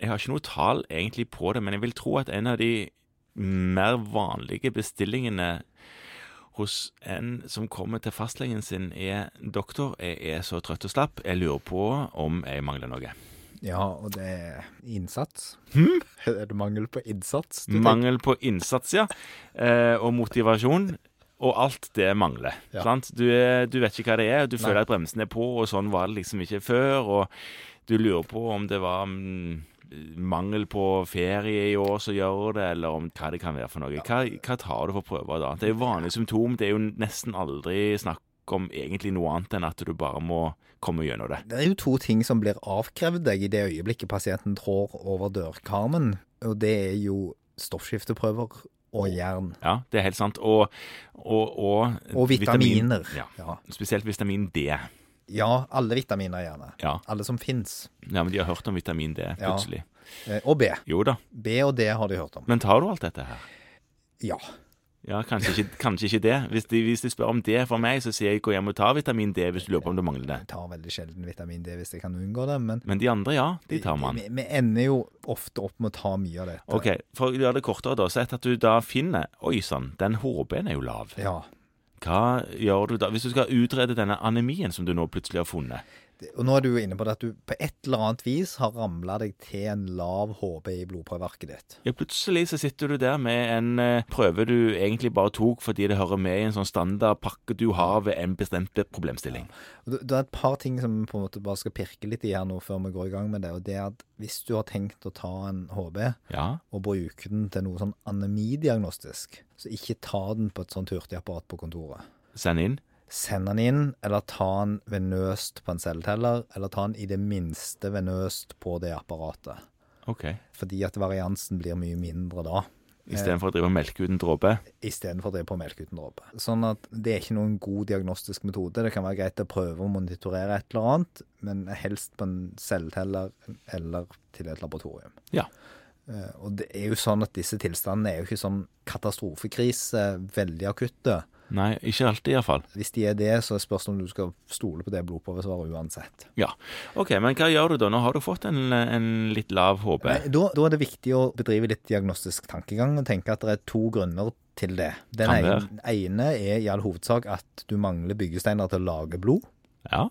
Jeg har ikke noe tall egentlig på det, men jeg vil tro at en av de mer vanlige bestillingene hos en som kommer til fastlegen sin, er 'Doktor, jeg er så trøtt og slapp. Jeg lurer på om jeg mangler noe.' Ja, og det er innsats. Hm? Er det mangel på innsats? du tenker? Mangel på innsats, ja. Eh, og motivasjon. Og alt det mangler. Ja. Sant? Du, er, du vet ikke hva det er, og du føler at bremsen er på, og sånn var det liksom ikke før. Og du lurer på om det var mm, mangel på ferie i år som gjør det, eller om hva det kan være for noe. Hva, hva tar du for prøver da? Det er jo vanlige symptom. Det er jo nesten aldri snakk om egentlig noe annet enn at du bare må komme gjennom det. Det er jo to ting som blir avkrevd deg i det øyeblikket pasienten trår over dørkarmen, og det er jo stoffskifteprøver og jern. Ja, det er helt sant. Og, og, og, Og vitaminer. Vitamin, ja. Ja. Spesielt vitamin D. ja, alle vitaminer gjerne. Ja. Alle som fins. Ja, men de har hørt om vitamin D plutselig. Eh, Og B. Jo da. B og D har de hørt om. Men tar du alt dette her? Ja. Ja, kanskje ikke, kanskje ikke det. Hvis de, hvis de spør om det for meg, så sier jeg gå hjem og ta vitamin D hvis du lurer på om du mangler det. Jeg tar veldig sjelden vitamin D hvis jeg kan unngå det, men Men de andre, ja. De tar man. vi, vi ender jo ofte opp med å ta mye av dette. OK, for å gjøre det kortere, da. Sett at du da finner Oi sann, den HB-en er jo lav. Ja. Hva gjør du da? Hvis du skal utrede denne anemien som du nå plutselig har funnet. Det- Og nå er du jo inne på det at du på et eller annet vis har ramla deg til en lav HB i blodprøvearket ditt. Ja, plutselig så sitter du der med en eh, prøve du egentlig bare tok fordi det hører med i en sånn standardpakke du har ved en bestemt problemstilling. Og Det det er et par ting som vi på en måte bare skal pirke litt i her nå før vi går i gang med det. og det er at Hvis du har tenkt å ta en HB Ja. og bruke den til noe sånn anemidiagnostisk, så ikke ta den på et sånt hurtigapparat på kontoret. Send inn. Send den inn, eller ta den venøst på en celleteller, eller ta den i det minste venøst på det apparatet. OK. Fordi at variansen blir mye mindre da. Istedenfor å drive og melke ut en dråpe. istedenfor det på melk uten dråpe. Sånn at det er ikke noen god diagnostisk metode. Det kan være greit å prøve å monitorere et eller annet, men helst på en celleteller eller til et laboratorium. Ja. Eh, Og det er jo sånn at disse tilstandene er jo ikke sånn katastrofekrise, veldig akutte. Nei, ikke alltid iallfall. Hvis de er det, så er spørsmålet om du skal stole på det blodprøvesvaret uansett. Ja. OK, men hva gjør du da? Nå har du fått en, en litt lav HB. Nei, Da, da er det viktig å bedrive litt diagnostisk tankegang og tenke at det er to grunner til det. Den Kan ene, være. ene er i all hovedsak at du mangler byggesteiner til å lage blod. Ja.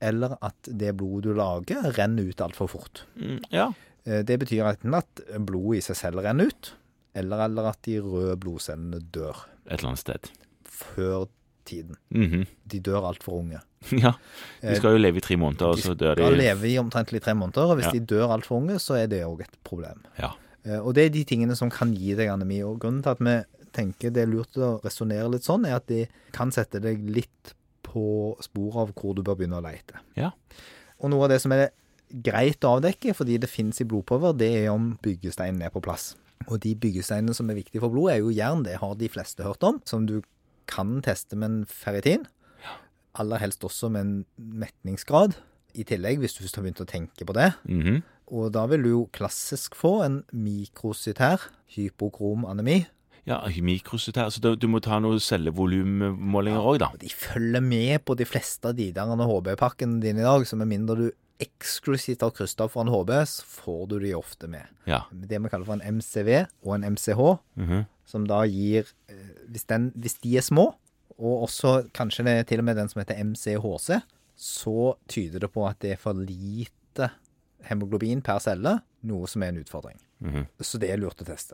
eller at det blodet du lager, renner ut altfor fort. Mm, ja. Eh, Det betyr enten at blodet i seg selv renner ut, eller, eller at de røde blodcellene dør Et eller annet sted. før tiden. Mhm. De dør altfor unge. Ja. De skal jo leve i tre måneder, og Eh, De så dør skal de. leve i omtrent i tre måneder, og hvis Ja. de dør altfor unge, så er det òg et problem. Ja. Eh, Og det er de tingene som kan gi deg anemi. Og grunnen til at vi tenker det er lurt å resonnere litt sånn, er at de kan sette deg litt på sporet av hvor du bør begynne å leite. Ja. Og noe av det som er greit å avdekke, fordi det finnes i blodprøver, det er om byggesteinen er på plass. Og de byggesteinene som er viktige for blod, er jo jern. Det har de fleste hørt om. Som du kan teste med en ferritin. Aller helst også med en metningsgrad. I tillegg, hvis du først har begynt å tenke på det. Mhm. Og da vil du jo klassisk få en mikrocytær hypokrom anemi. Ja, mikrocytær. Så du, du må ta noen cellevolummålinger òg, da. Og de følger med på de fleste av de der HB-pakkene dine i dag, så med mindre du eksklusivt har krysta for en HB, så får du de ofte med. Ja. Det vi kaller for en MCV og en MCH, Mhm. som da gir eh, Hvis, den, hvis de er små, og også kanskje det er til og med den som heter MCHC, så tyder det på at det er for lite hemoglobin per celle, noe som er en utfordring. Mhm. Så det er lurt å teste.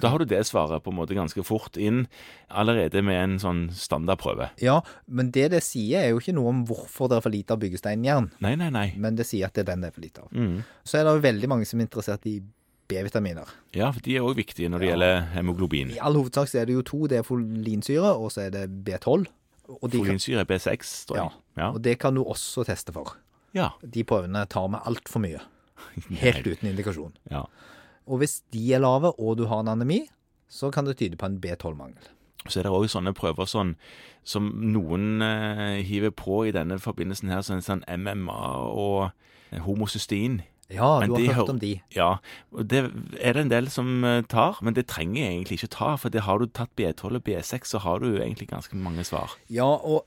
Da har du det svaret på en måte ganske fort inn, allerede med en sånn standardprøve. Ja, men det det sier, er jo ikke noe om hvorfor det er for lite av byggesteinjern, Nei, nei, nei. men det sier at det er den det er for lite av. Mhm. Så er det jo veldig mange som er interessert i B-vitaminer. Ja, for de er òg viktige når det Ja. gjelder hemoglobin. I all hovedsak så er det jo to. Det er folinsyre, og så er det B12. Og, de kan, Folinsyre B6, tror jeg. Ja. og det kan du også teste for. Ja. De prøvene tar med altfor mye. Helt uten indikasjon. ja. Og hvis de er lave, og du har en anemi, så kan det tyde på en B12-mangel. Så er det òg sånne prøver sånn, som noen eh, hiver på i denne forbindelsen her, sånn, sånn MMA og homocystein. Ja, Men du de har hørt hører- om de. Ja, og det er det en del som eh, tar, men det trenger jeg egentlig ikke ta, for det har du tatt B12 og B6, så har du egentlig ganske mange svar. Ja, og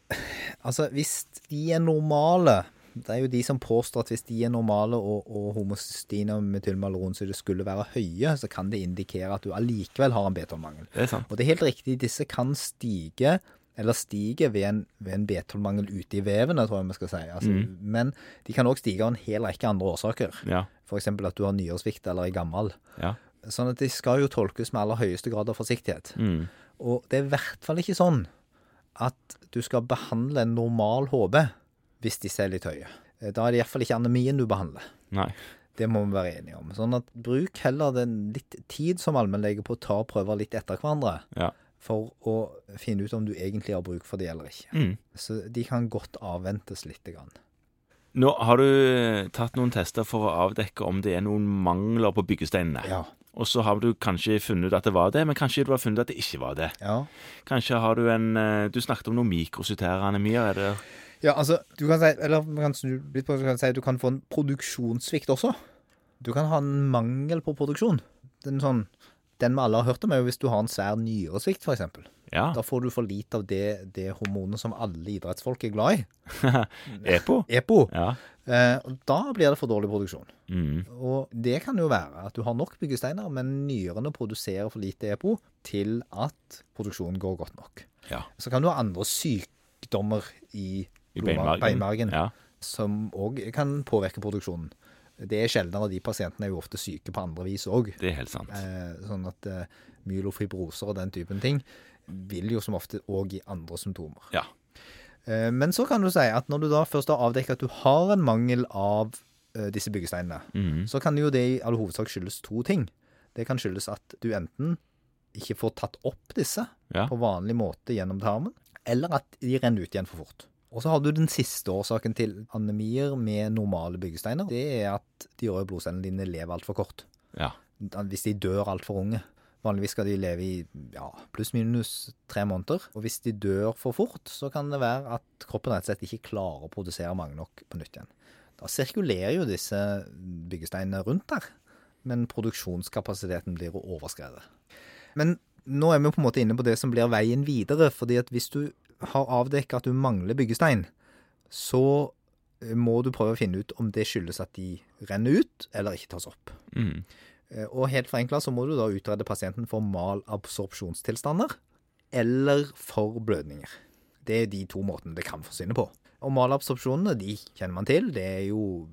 altså, hvis de er normale, Det er jo de som påstår at hvis de er normale og, og homocystein og metylmaleron som det skulle være høye, så kan det indikere at du allikevel har en B12-mangel. Det er sant. Og det er helt riktig, disse kan stige, eller stige ved en, ved en B12-mangel ute i vevene, tror jeg vi skal si. Altså, Men de kan òg stige av en hel rekke andre årsaker. Ja. F.eks. at du har nyresvikt eller er gammel. ja. Sånn at de skal jo tolkes med aller høyeste grad av forsiktighet. Mm. Og det er i hvert fall ikke sånn at du skal behandle en normal HB hvis disse er litt høye. Eh, Da er det iallfall ikke anemien du behandler. Nei. Det må vi være enige om. Sånn at bruk heller den litt tid som allmennlege på å ta prøver litt etter hverandre Ja. for å finne ut om du egentlig har bruk for de eller ikke. Mm. Så de kan godt avventes litt. Grann. Nå har du eh, tatt noen tester for å avdekke om det er noen mangler på byggesteinene. Ja. Og så har du kanskje funnet ut at det var det, men kanskje du har funnet ut at det ikke var det. ja. Kanskje har du en eh, Du snakket om noen mikrocytære anemier. Er det Ja, altså, du kan si, eller man kan snu litt på det, så kan du si at du kan få en produksjonssvikt også. Du kan ha en mangel på produksjon. Den, sånn, den vi alle har hørt om, er jo hvis du har en svær nyresvikt, f.eks. Ja. Da får du for lite av det, det hormonet som alle idrettsfolk er glad i, EPO? EPO. Ja. Eh, og da blir det for dårlig produksjon. Mm. Og det kan jo være at du har nok byggesteiner, men nyrene produserer for lite EPO til at produksjonen går godt nok. ja. Så kan du ha andre sykdommer i, I blodma- beinmargen. beinmargen Ja. som òg kan påvirke produksjonen. Det er sjeldnere, de pasientene er jo ofte syke på andre vis òg. Det er helt sant. Eh, sånn at eh, mylofibroser og den typen ting vil jo som ofte òg gi andre symptomer. Ja. Eh, men så kan du si at når du da først har avdekket at du har en mangel av eh, disse byggesteinene, Mm. så kan jo det i all hovedsak skyldes to ting. Det kan skyldes at du enten ikke får tatt opp disse Ja. på vanlig måte gjennom tarmen, eller at de renner ut igjen for fort. Og så har du den siste årsaken til anemier med normale byggesteiner. Det er at de røde blodcellene dine lever altfor kort. ja. Da- Hvis de dør altfor unge. Vanligvis skal de leve i ja, pluss-minus tre måneder. Og hvis de dør for fort, så kan det være at kroppen rett og slett ikke klarer å produsere mange nok på nytt igjen. Da sirkulerer jo disse byggesteinene rundt der, men produksjonskapasiteten blir overskredet. Men nå er vi jo på en måte inne på det som blir veien videre, fordi at hvis du har avdekket at du mangler byggestein, så eh, må du prøve å finne ut om det skyldes at de renner ut eller ikke tas opp. Mm. Eh, Og helt forenkla så må du da utrede pasienten for mal absorpsjonstilstander eller for blødninger. Det er de to måtene det kan forsvinne på. Og malabsorpsjonene de kjenner man til. Det er jo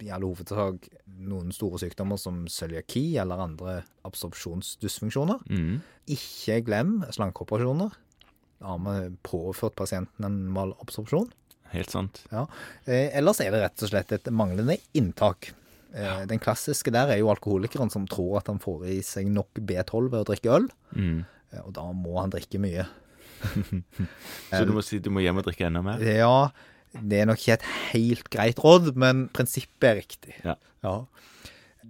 i all hovedsak noen store sykdommer som cøliaki eller andre absorpsjonsdysfunksjoner. Mm. Ikke glem slankeoperasjoner. Da har vi påført pasienten en malabsorpsjon. Helt sant. Ja. Eh, ellers er det rett og slett et manglende inntak. Eh, Den klassiske der er jo alkoholikeren som tror at han får i seg nok B12 ved å drikke øl, Mm. eh, og da må han drikke mye. Så du må si du må hjem og drikke enda mer? Eh. Ja, det er nok ikke et helt greit råd, men prinsippet er riktig. Ja.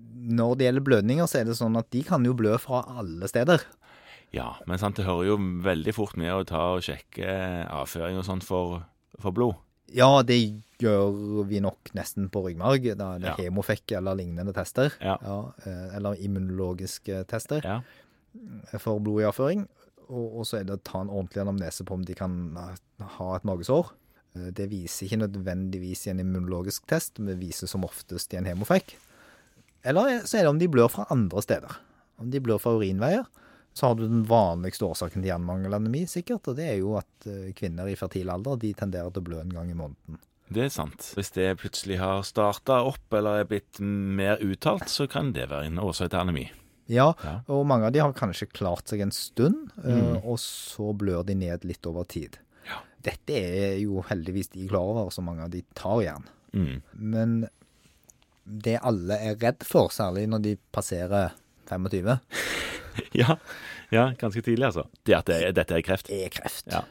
Når det gjelder blødninger, så er det sånn at de kan jo blø fra alle steder. Ja, men sant, det hører jo veldig fort med å ta og sjekke avføring og sånt for, for blod. Ja, det gjør vi nok nesten på ryggmarg. Da er det Ja. hemofekk eller lignende tester. Ja. eh, eller immunologiske tester. Ja. for blod i avføring. Og, og så er det å ta en ordentlig anamnese på om de kan ha- ha et magesår. Eh, Det viser ikke nødvendigvis i en immunologisk test, men det viser som oftest i en hemofekk. Eller så er det om de blør fra andre steder. Om de blør fra urinveier, så har du den vanligste årsaken til jernmangelanemi, sikkert, og det er jo at eh, kvinner i fertil alder de tenderer til å blø en gang i måneden. Det er sant. Hvis det plutselig har starta opp eller er blitt mer uttalt, så kan det være en årsak til anemi. Ja, Ja. Mm. og mange av de har kanskje klart seg en stund, eh, og så blør de ned litt over tid. Ja. Dette er jo heldigvis de klar over, så mange av de tar igjen. Mm. Men det alle er redd for, særlig når de passerer 25, Ja. ja, ganske tidlig, altså. Det at det, dette er kreft. er kreft. Ja.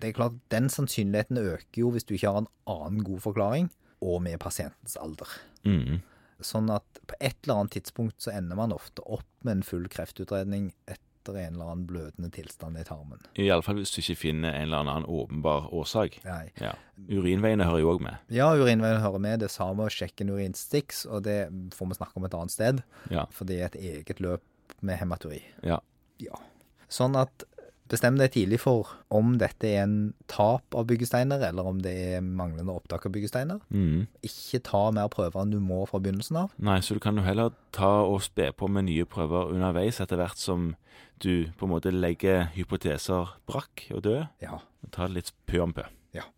Det er klart, Den sannsynligheten øker jo hvis du ikke har en annen god forklaring, og med pasientens alder. Mm. Sånn at på et eller annet tidspunkt så ender man ofte opp med en full kreftutredning etter en eller annen blødende tilstand i tarmen. Iallfall hvis du ikke finner en eller annen åpenbar årsak. Nei. Ja. Urinveiene hører jo òg med. Ja, urinveien hører med. Det er samme å sjekke en urinstiks, og det får vi snakke om et annet sted. Ja. For det er et eget løp med hematuri. Ja. Ja. Sånn at Bestem deg tidlig for om dette er en tap av byggesteiner, eller om det er manglende opptak av byggesteiner. Mm. Ikke ta mer prøver enn du må fra begynnelsen av. Nei, så du kan jo heller ta og spe på med nye prøver underveis etter hvert som du på en måte legger hypoteser brakk og døde. Ja, Ta det litt pø om pø. Ja.